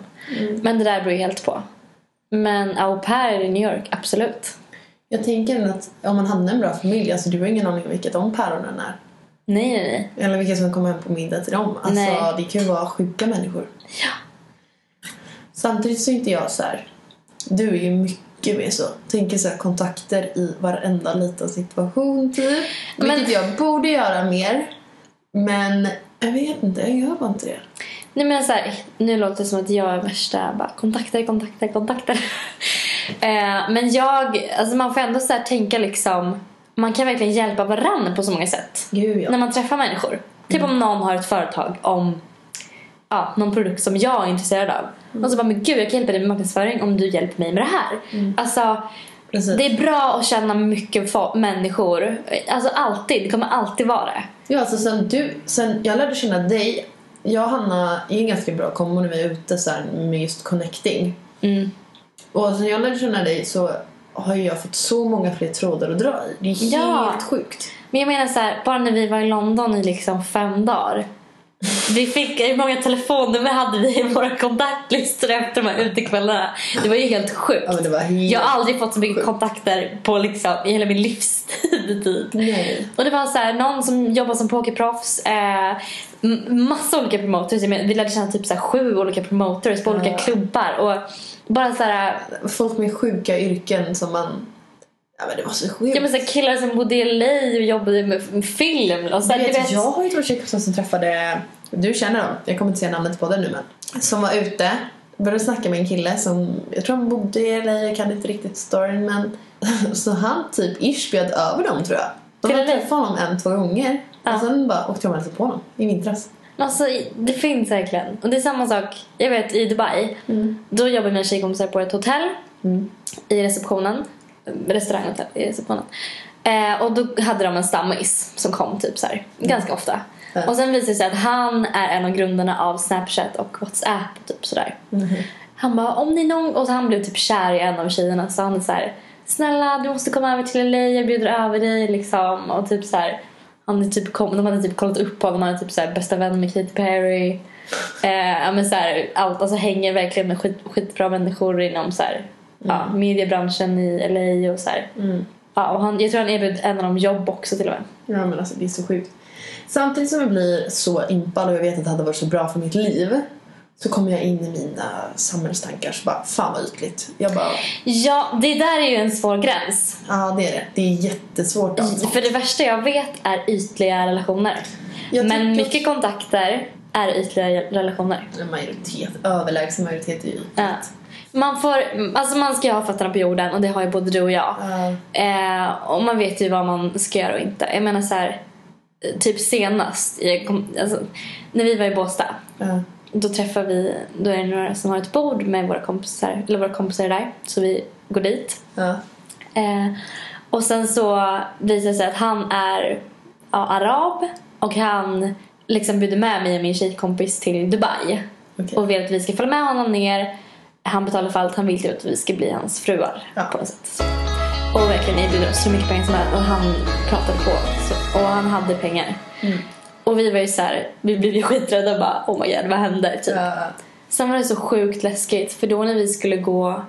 B: Men det där beror ju helt på. Men au pair i New York, absolut.
A: Jag tänker att om man hade en bra familj, alltså du har ingen aning om vilka de päronen är.
B: Nej, nej, nej.
A: Eller vilka som kommer hem på middag till dem. Alltså
B: Nej.
A: det kan ju vara sjuka människor.
B: Ja.
A: Samtidigt så är inte jag så här. Du är ju mycket mer så. Tänker så här kontakter i varenda liten situation typ.
B: Men-
A: Vilket jag borde göra mer. Men jag vet inte, jag gör bara inte det.
B: Nej men så här, nu låter det som att jag är värsta bara, kontakter, kontakter, kontakter. eh, men jag, alltså man får ändå så här tänka liksom, man kan verkligen hjälpa varandra på så många sätt.
A: Gud ja.
B: När man träffar människor. Typ om någon har ett företag om ja, någon produkt som jag är intresserad av. Och så bara, men gud jag kan hjälpa dig med marknadsföring om du hjälper mig med det här. Alltså,
A: Precis.
B: det är bra att känna mycket fo- människor. Alltså alltid, det kommer alltid vara det.
A: Ja, alltså sen du, sen jag lärde känna dig. Jag och Hanna är ganska bra kombon när vi är ute så här, med just connecting.
B: Mm.
A: Och sen jag lärde känna dig så har ju jag fått så många fler trådar att dra i. Det är helt
B: Ja.
A: sjukt.
B: Men jag menar så här, bara när vi var i London i liksom fem dagar. Vi fick, hur många telefonnummer hade vi i våra kontaktlistor efter de här utekvällarna? Det var ju helt sjukt.
A: Ja, men det var helt...
B: Jag har aldrig fått så mycket kontakter på liksom, i hela min livstid. Typ.
A: Nej.
B: Och det var så här, någon som jobbar som pokerproffs, eh, m- massa olika promoters. Jag menar, Vi lärde känna typ så här, sju olika promoters på olika
A: Ja.
B: klubbar. Och bara så här,
A: Folk med sjuka yrken som man... Ja men det var så sjukt.
B: ja, men så här, killar som bodde i LA och jobbade med film. Och så här,
A: du vet,
B: du vet-
A: Jag har ju två tjejkompisar som träffade... Du känner dem. Jag kommer inte säga namnet på den nu men. Som var ute. Började snacka med en kille som... Jag tror han bodde i LA. Jag kan inte riktigt storyn men... Så han typ ish bjöd över dem tror jag. De
B: Till
A: hade
B: LA?
A: träffat honom en, två gånger.
B: Ja.
A: Och sen bara åkte de och hälsade på honom i vintras.
B: Alltså, det finns verkligen. Och det är samma sak, jag vet i Dubai. Då jobbar mina tjejkompisar på ett hotell
A: Mm.
B: i receptionen. Restauranghotell i receptionen. Eh, och då hade de en stammis som kom typ så här, ganska ofta.
A: Mm. Ja.
B: Och sen visade det sig att han är en av grundarna av Snapchat och Whatsapp och typ sådär. Han bara, om ni någon... Och så han blev typ kär i en av tjejerna så han är så här, snälla du måste komma över till LA, jag bjuder över dig liksom. Och typ så här, han är typ kom, de hade typ kollat upp honom, han är typ så här, bästa vän med Katy Perry. Eh, ja, men så här, allt, alltså hänger verkligen med skit, skitbra människor inom så här, ja, mediebranschen i LA och så här.
A: Mm.
B: Ja, och han, jag tror han erbjöd en av dem jobb också till och med.
A: Ja men alltså det är så sjukt. Samtidigt som jag blir så impad och jag vet att det hade varit så bra för mitt liv så kommer jag in i mina samhällstankar så bara fan vad ytligt. Jag bara
B: Ja, det där är ju en svår gräns.
A: ja det är det. Det är jättesvårt alltså.
B: För det värsta jag vet är ytliga relationer.
A: Jag
B: Men
A: tycker-
B: mycket kontakter är ytliga relationer.
A: En majoritet, överlägsen majoritet är ju
B: Ja. Man, får, alltså man ska ju ha fötterna på jorden och det har ju både du och jag.
A: Ja.
B: Eh, och man vet ju vad man ska göra och inte. Jag menar så här, eh, typ senast, jag kom, alltså, när vi var i Båstad.
A: ja.
B: Då träffar vi, då är det några som har ett bord med våra kompisar, eller våra kompisar där. Så vi går dit.
A: ja.
B: Eh, och sen så visar det sig att han är ja, arab och han liksom bjuder med mig och min tjejkompis till Dubai.
A: Okej.
B: Och vill att vi ska följa med honom ner. Han betalar för allt, han vill typ att vi ska bli hans fruar
A: Ja.
B: på något sätt. Och verkligen erbjuder oss så mycket pengar som helst och han pratade på så, och han hade pengar.
A: Mm.
B: Och vi var ju så här, vi blev ju skiträdda och bara oh my god vad händer? Typ.
A: Ja.
B: Sen var det så sjukt läskigt för då när vi skulle gå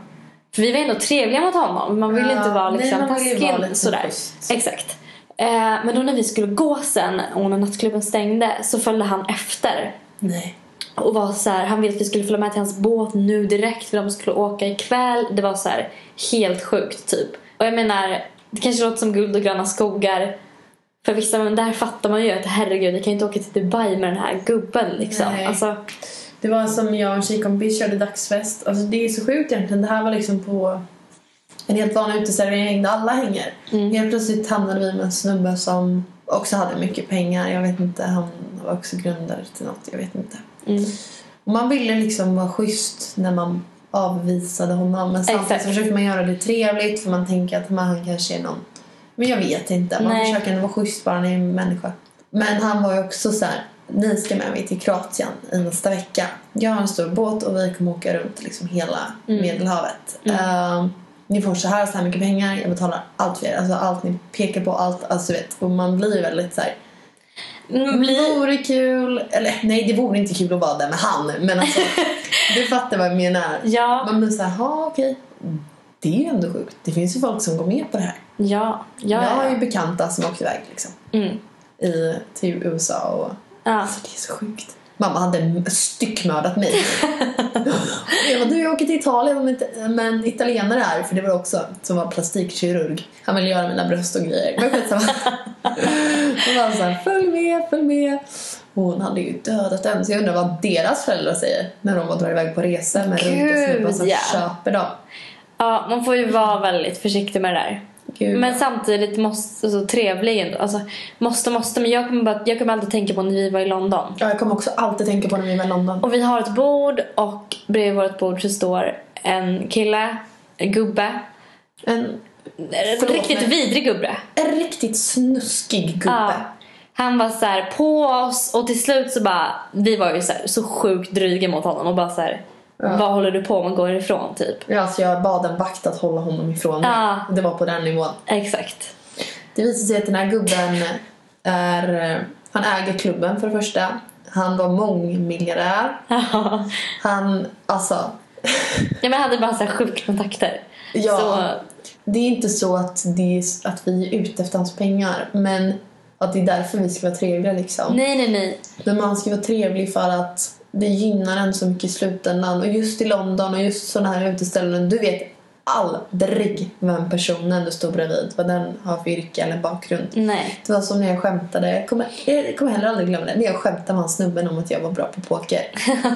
B: för vi var ändå trevliga mot honom. Man ville
A: Ja,
B: inte vara
A: nej,
B: liksom
A: man ville ju
B: taskig.
A: vara lite
B: sådär.
A: schysst.
B: Exakt. Eh, men då när vi skulle gå sen och när nattklubben stängde så följde han efter.
A: Nej.
B: Och var så här, han ville att vi skulle följa med till hans båt nu direkt för de skulle åka ikväll. Det var så här helt sjukt typ. Och jag menar, det kanske låter som guld och gröna skogar för vissa, men där fattar man ju att herregud, jag kan ju inte åka till Dubai med den här gubben liksom.
A: Nej.
B: Alltså,
A: Det var som jag och en tjejkompis körde dagsfest. Alltså det är så sjukt egentligen. Det här var liksom på en helt vanlig uteservering där alla hänger.
B: Mm.
A: Helt plötsligt hamnade vi med en snubbe som också hade mycket pengar. Jag vet inte, han var också grundare till något. Jag vet inte.
B: mm.
A: Och man ville liksom vara schysst när man avvisade honom. Men samtidigt
B: Exakt.
A: så försöker man göra det trevligt för man tänker att man, han kanske är någon... Men jag vet inte. Man
B: Nej.
A: försöker ändå vara schysst bara när det är en människa. Men han var ju också så här. Ni ska med mig till Kroatien i nästa vecka. Jag har en stor båt och vi kommer åka runt liksom hela
B: Mm.
A: Medelhavet.
B: Mm.
A: Eh, ni får så här, så här mycket pengar. Jag betalar allt för er. Alltså allt ni pekar på, allt. Alltså du vet. Och man blir ju väldigt så här. Det
B: Mm, bli-
A: vore kul, eller nej det vore inte kul att vara där med han men alltså du fattar vad jag menar.
B: Ja,
A: Man blir såhär, ja okej. Det är ju ändå sjukt. Det finns ju folk som går med på det här.
B: ja, ja.
A: jag har
B: ja.
A: ju bekanta som åkte iväg liksom,
B: Mm.
A: i, till USA och
B: Ja.
A: alltså, det är så sjukt. Mamma hade m- styckmördat mig. jag bara, du jag åker till Italien om inte- med en italienare här för det var också som var plastikkirurg. Han ville göra mina bröst och grejer. Men skitsamma. Hon var så här, följ med, följ med. Och Hon hade ju dödat den så jag undrar vad deras föräldrar säger när de var drar iväg på resa med
B: Gud,
A: runt och snubbar som
B: ja.
A: köper dem.
B: ja, man får ju vara väldigt försiktig med det där.
A: Gud.
B: Men samtidigt måste, alltså, trevlig ändå. Alltså, måste, måste, men jag kommer, bara, jag kommer alltid tänka på när vi var i London.
A: Ja, jag kommer också alltid tänka på när vi var i London.
B: Och vi har ett bord och bredvid vårt bord så står en kille, en gubbe.
A: En,
B: En
A: Förlåt,
B: riktigt
A: men-
B: vidrig gubbe.
A: en riktigt snuskig gubbe.
B: Ja. Han var så här på oss och till slut så bara, vi var ju så, här, så sjukt dryga mot honom och bara så här, vad håller du på med, gå ifrån typ.
A: Ja, så jag bad en vakt att hålla honom ifrån mig.
B: Ja.
A: Det var på den nivån.
B: Exakt.
A: Det visar sig att den här gubben är... eh, Han äger klubben för det första. Han var mångmiljardär.
B: ja
A: Han, alltså...
B: men han hade bara så här sjuka kontakter.
A: Ja.
B: Så,
A: Det är inte så att, det är, att vi är ute efter hans pengar, men att det är därför vi ska vara trevliga liksom.
B: nej nej nej.
A: Men man ska vara trevlig för att det gynnar en så mycket i slutändan. Och just i London och just sådana här uteställen, du vet aldrig vem personen du står bredvid, vad den har för yrke eller bakgrund.
B: Nej.
A: Det var som när jag skämtade, jag kommer, jag kommer heller aldrig glömma det, när jag skämtade med han snubben om att jag var bra på poker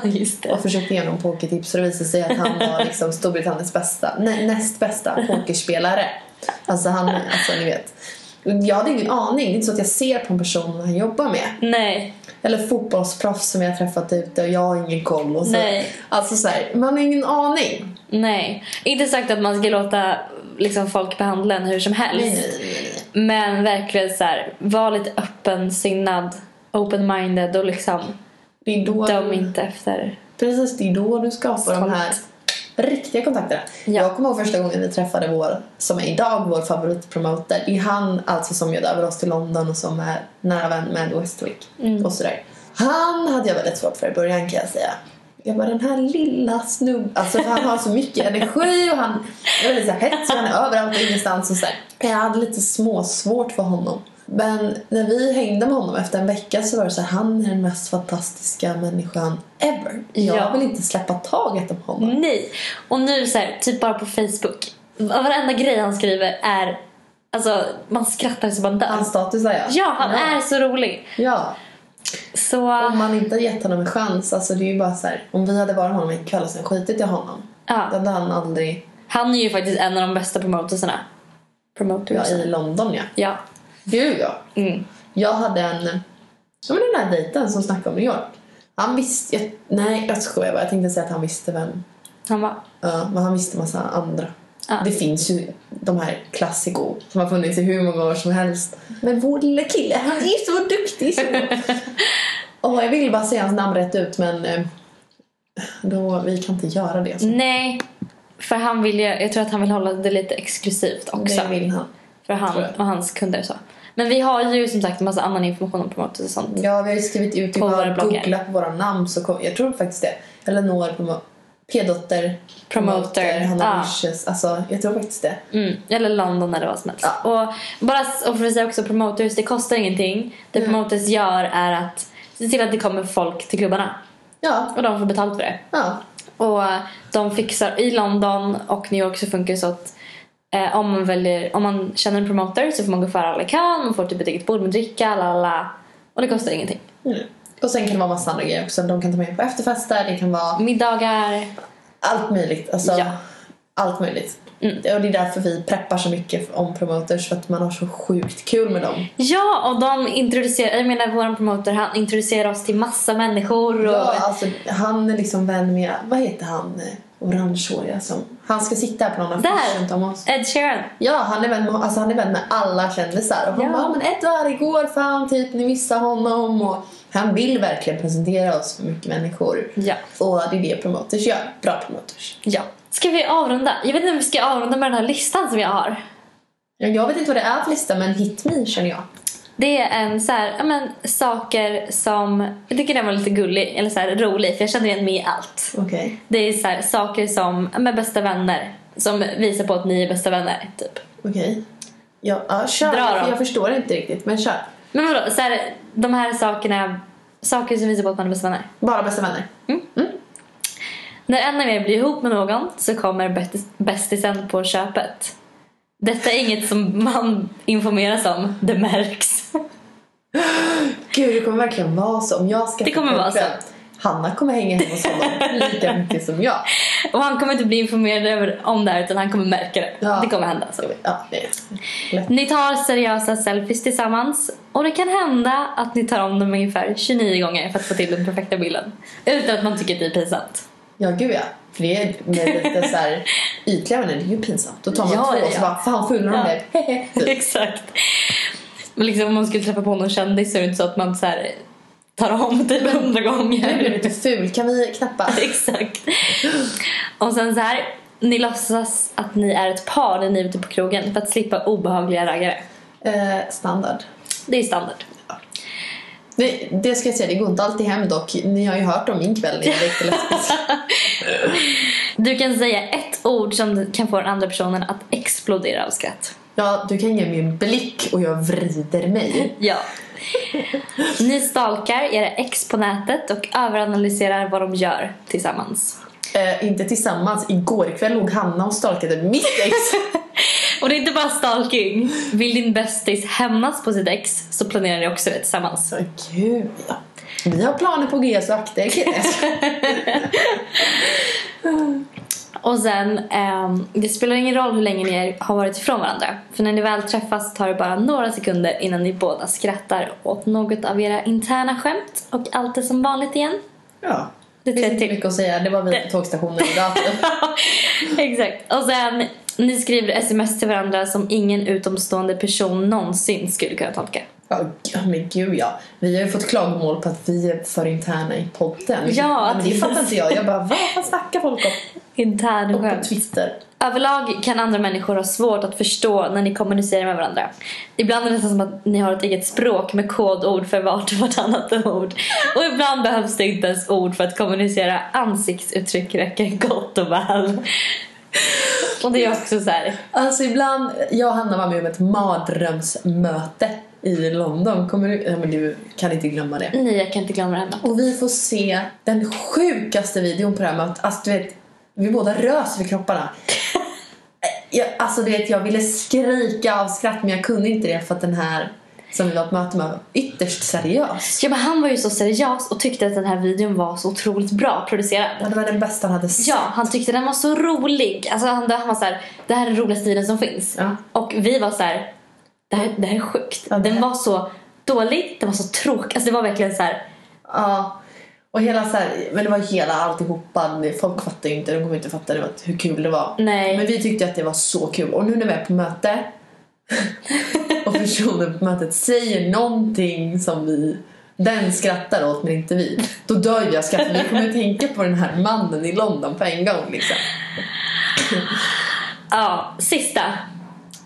B: Just det.
A: och försökte ge honom pokertips och det visade sig att han var liksom Storbritanniens bästa, nä, näst bästa pokerspelare. Alltså han, alltså ni vet. Jag hade ingen aning, det är inte så att jag ser på en person vad han jobbar med.
B: Nej.
A: Eller fotbollsproffs som jag har träffat ute och jag har ingen koll. Och så.
B: Nej.
A: Alltså så här, man har ingen aning.
B: Nej. Inte sagt att man ska låta liksom, folk behandla en hur som helst.
A: Nej, nej, nej, nej.
B: Men verkligen så här, var lite öppensinnad, open-minded och liksom
A: Det är då,
B: döm inte efter.
A: precis, det är då du skapar de här riktiga kontakterna.
B: Ja.
A: Jag kommer ihåg första gången vi träffade vår, som är idag vår favoritpromoter. Det är han alltså som bjöd över oss till London och som är nära vän med Westwick och sådär. Han hade jag väldigt svårt för i början kan jag säga. Jag bara den här lilla snubben, alltså för han har så mycket energi och han är väldigt så här hetsig, han är överallt och ingenstans och så här. Jag hade lite småsvårt för honom. Men när vi hängde med honom efter en vecka så var det så här, han är den mest fantastiska människan ever. Jag
B: Ja. Mm.
A: vill inte släppa taget om honom.
B: Nej. Och nu så här, typ bara på Facebook. Varenda grej han skriver är, alltså man skrattar så man dör.
A: Hans status är jag.
B: Ja, Oh han
A: ja.
B: är så rolig.
A: Ja,
B: Så,
A: om man inte hade gett honom en chans. Alltså det är ju bara så här, om vi hade varit honom en kväll och sen skitit i honom. Då
B: ja.
A: hade han aldrig,
B: Han är ju faktiskt en av de bästa promotorsarna.
A: ja
B: Promotors.
A: i London ja.
B: Ja.
A: Gud ja.
B: Mm.
A: Jag hade en, ja men den här dejten som snackade om New York. Han visste, jag, nej jag skojar bara. Jag tänkte säga att han visste vem.
B: Han var
A: Ja, men han visste massa andra.
B: Ja.
A: Det finns ju de här klassiko som har funnits i hur många år som helst. Men vår lilla kille, han är så duktig! Så. Och jag vill bara säga hans namn rätt ut men eh, då, vi kan inte göra det. Så.
B: Nej, för han vill ju, jag tror att han vill hålla det lite exklusivt också.
A: Det vill han.
B: för
A: tror
B: han
A: jag.
B: och hans kunder och så. Men vi har ju som sagt en massa annan information om promoters och sånt.
A: Ja, vi har ju skrivit ut,
B: På
A: på
B: våra
A: bara
B: bloggar.
A: googla på våra namn så kom, jag tror faktiskt det. Eleanor på P-dotter,
B: Promoter,
A: Hanna
B: ja.
A: Lyschers, alltså jag tror faktiskt det.
B: Mm. Eller London eller vad som helst. Och, bara, s- och för att säga också
A: Mm.
B: promoters, det kostar ingenting. Det promoters gör är att se till att det kommer folk till klubbarna.
A: Ja,
B: Och de får betalt för det.
A: ja.
B: Och de fixar, i London och New York så funkar det så att eh, om, man väljer, om man känner en promoter så får man gå före alla kan, man får typ ett eget bord med dricka, la la, la. Och det kostar ingenting.
A: Mm. Och sen kan det vara massa andra grejer också. De kan ta med en på efterfester, det kan vara
B: Middagar.
A: allt möjligt. Alltså,
B: Ja.
A: Allt möjligt.
B: Mm.
A: Och det är därför vi preppar så mycket om promoters, för att man har så sjukt kul med dem.
B: Ja, och de introducerar, jag menar vår promoter han introducerar oss till massa människor. Och,
A: Ja, alltså, han är liksom vän med, vad heter han, eh, orangehåriga som... Han ska sitta här på någon affisch
B: Där!
A: runt om oss.
B: Ed Sheeran.
A: Ja, han är, vän med, alltså, han är vän med alla kändisar. Och han
B: Ja.
A: bara, men Edvard, igår fan, typ, ni missade honom. Och han vill verkligen presentera oss för mycket människor.
B: Ja.
A: Och det är det promoters gör. Bra promoters.
B: ja. Ska vi avrunda? Jag vet inte om vi ska avrunda med den här listan som jag har.
A: Ja, Jag vet inte vad det är för lista, men hit me känner jag.
B: Det är en så här, ja, men, saker som... Jag tycker den var lite gullig, eller så här, rolig, för jag känner igen mig i allt.
A: Okej.
B: Det är så här, saker som, ja, men bästa vänner. Som visar på att ni är bästa vänner, typ.
A: Okej. Ja, ja, kör.
B: Dra då.
A: För jag förstår inte riktigt, men kör.
B: Men vadå, så här, de här sakerna... Saker som visar på att man är bästa vänner.
A: Bara bästa vänner.
B: När en av er blir ihop med någon så kommer bästis- bästisen på köpet. Detta är inget som man informeras om, det märks.
A: Gud, det kommer verkligen vara så. Om jag ska
B: Det kommer vara så.
A: Hanna kommer hänga hemma hos honom lika mycket som jag.
B: Och han kommer inte bli informerad över- om det här utan han kommer märka det.
A: Ja.
B: Det kommer hända. Så.
A: Ja, det är lätt.
B: Ni tar seriösa selfies tillsammans och det kan hända att ni tar om dem ungefär 29 gånger för att få till den perfekta bilden. Utan att man tycker att det är pinsamt.
A: Ja, gud ja. För det är med lite så här ytliga vänner, det är ju pinsamt. Då tar man
B: Ja,
A: två och
B: ja.
A: så bara, fan full de
B: Ja.
A: blev. Hehe. Typ.
B: Exakt. Men liksom, om man skulle träffa på någon kändis så är det inte så att man så här, tar om typ hundra
A: Nu
B: gånger.
A: blev du lite ful, kan vi knappa?
B: Exakt. Och sen så här. Ni låtsas att ni är ett par när ni är ute på krogen för att slippa obehagliga raggare.
A: Eh, standard.
B: Det är standard.
A: Det, det ska jag säga, det går inte alltid hem dock. Ni har ju hört om min kväll i Direkt Lesbisk.
B: Du kan säga ett ord som kan få den andra personen att explodera av skratt.
A: Ja, du kan ge mig en blick och jag vrider mig.
B: Ja. Ni stalkar era ex på nätet och överanalyserar vad de gör tillsammans.
A: Eh, inte tillsammans. Igår kväll låg Hanna och stalkade mitt ex.
B: Och det är inte bara stalking. Vill din bästis hämnas på sitt ex så planerar ni också det tillsammans.
A: Så kul. Ja. Vi har planer på G så akta er killar.
B: Och sen, ehm, det spelar ingen roll hur länge ni är, har varit ifrån varandra. För när ni väl träffas tar det bara några sekunder innan ni båda skrattar åt något av era interna skämt. Och allt är som vanligt igen.
A: Ja.
B: Det
A: Det finns
B: typ- tror jag
A: inte
B: till.
A: mycket att säga. Det var vi på tågstationen idag.
B: Exakt. Och sen, ni skriver sms till varandra som ingen utomstående person någonsin skulle kunna tolka.
A: Ja, g- men gud ja. Vi har ju fått klagomål på att vi är för interna i podden.
B: Ja,
A: men det
B: att-
A: fattar inte jag. Jag bara, vad fan snackar folk om?
B: Intern
A: Och på
B: skämt.
A: Twitter.
B: Överlag kan andra människor ha svårt att förstå när ni kommunicerar med varandra. Ibland är det nästan som att ni har ett eget språk med kodord för vart och vartannat ord. Och ibland behövs det inte ens ord för att kommunicera. Ansiktsuttryck räcker gott och väl. Och det är också så här.
A: Alltså ibland, jag och Hanna var med om ett mardrömsmöte i London. Kommer du? Ja, men du kan inte glömma det.
B: Nej, jag kan inte glömma det här.
A: Och vi får se den sjukaste videon på det här mötet. Alltså du vet, vi båda rös över kropparna. Jag, alltså du vet, jag ville skrika av skratt men jag kunde inte det för att den här som vi var på möte med var ytterst seriös.
B: Ja, men han var ju så seriös och tyckte att den här videon var så otroligt bra
A: Ja,
B: producerad.
A: det var den bästa han hade sett.
B: Ja, han tyckte den var så rolig. Alltså han, han var så här, det här är den roligaste videon som finns.
A: Ja.
B: Och vi var så här, det här, det här är sjukt.
A: Ja, det
B: Den
A: här-
B: var så dålig, den var så tråkig. Alltså det var verkligen så här,
A: Ja. Och hela så här, men det var hela alltihopa. Folk fattade ju inte, de kommer inte fatta det, var- hur kul det var.
B: Nej.
A: Men vi tyckte att det var så kul. Och nu när vi är på möte och personen på mötet säger någonting som vi den skrattar åt men inte vi. Då dör jag av skratt. Vi kommer att tänka på den här mannen i London på en gång liksom.
B: ja, sista.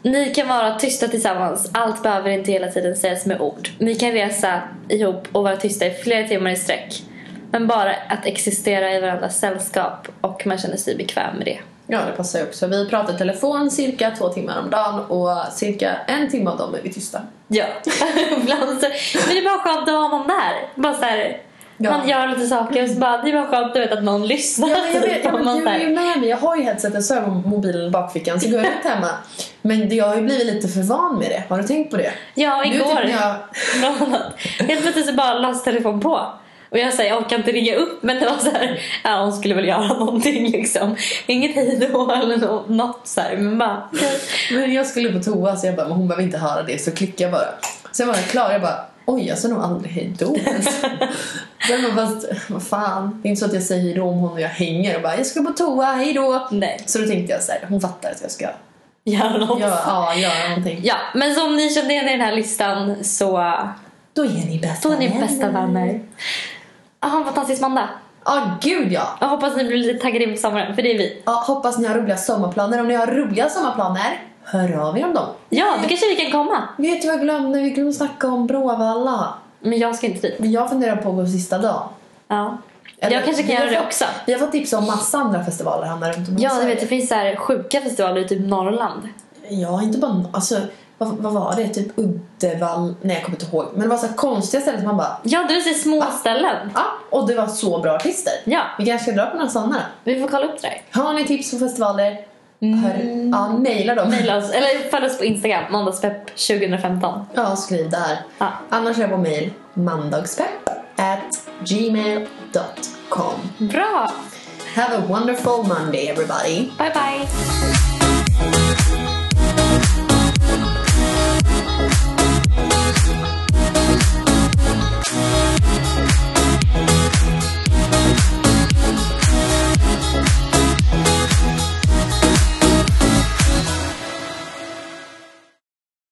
B: Ni kan vara tysta tillsammans. Allt behöver inte hela tiden sägas med ord. Ni kan resa ihop och vara tysta i flera timmar i sträck. Men bara att existera i varandras sällskap och man känner sig bekväm med det.
A: Ja, det passar ju också. Vi pratar i telefon cirka två timmar om dagen och cirka en timme av dem är vi tysta.
B: Ja. Ibland så, men det är bara skönt att ha någon där. Bara så här,
A: Ja.
B: Man gör lite saker och så bara, det är bara skönt du vet att någon lyssnar.
A: Ja, men jag vet, ja,
B: Man
A: men du
B: så
A: är
B: här-
A: ju med mig. Jag har ju headsetet så har jag mobilen i bakfickan så går jag runt hemma. Men det- jag har ju blivit lite för van med det. Har du tänkt på det?
B: Ja,
A: Nu
B: igår.
A: typ när jag...
B: bland annat. Helt plötsligt så bara lades telefon på. Och jag säger jag orkar inte ringa upp men det var så här, ja, hon skulle väl göra någonting liksom. Inget hej då eller nå- något så här, men bara okej.
A: Men jag skulle på toa så jag bara, men hon behöver inte höra det så klickar jag bara. Sen var jag klar jag bara, oj jag sa nog aldrig hejdå ens. Sen bara, fast vad fan. Det är inte så att jag säger hejdå om hon och jag hänger och bara, jag ska på toa, hejdå.
B: nej,
A: Så då tänkte jag så här, hon fattar att jag ska göra,
B: gör något. Ja.
A: ja, göra någonting.
B: men som ni kände igen i den här listan så
A: Då är ni bästa
B: då är ni bästa vänner. Ha en fantastisk måndag.
A: Ja, ah, gud ja.
B: Jag hoppas ni blir lite taggade inför sommaren för det är vi.
A: ja. Hoppas ni har roliga sommarplaner. Om ni har roliga sommarplaner, hör av er om dem.
B: Ja, då kanske vi kan komma.
A: Vet du vad jag glömde? Vi glömde snacka om Bråvalla.
B: Men jag ska inte dit.
A: Jag funderar på att gå sista dagen.
B: Ja.
A: Eller-
B: jag kanske kan
A: vi har
B: göra det
A: fått-
B: också.
A: Vi har fått tips om massa andra festivaler här runt om i
B: Ja, du
A: Sverige.
B: vet det finns så här sjuka festivaler i typ Norrland.
A: Ja, inte bara... Alltså, vad, vad var det? Typ Uddevall... Nej, jag kommer inte ihåg. Men det var så här konstiga ställen som man bara...
B: Ja, du ser små ställen.
A: Ja, och det var så bra artister.
B: Ja,
A: Vi kanske ska dra på några sådana.
B: vi får kolla upp det där.
A: Har ni tips på festivaler?
B: Mm.
A: Hör, ja, mejla dem.
B: Maila oss, eller följ oss på Instagram, måndagspepp 2015.
A: Ja, skriv där.
B: Ja.
A: Annars är jag på mejl mandagspepp at gmail.com.
B: Bra!
A: Have a wonderful Monday everybody.
B: Bye bye!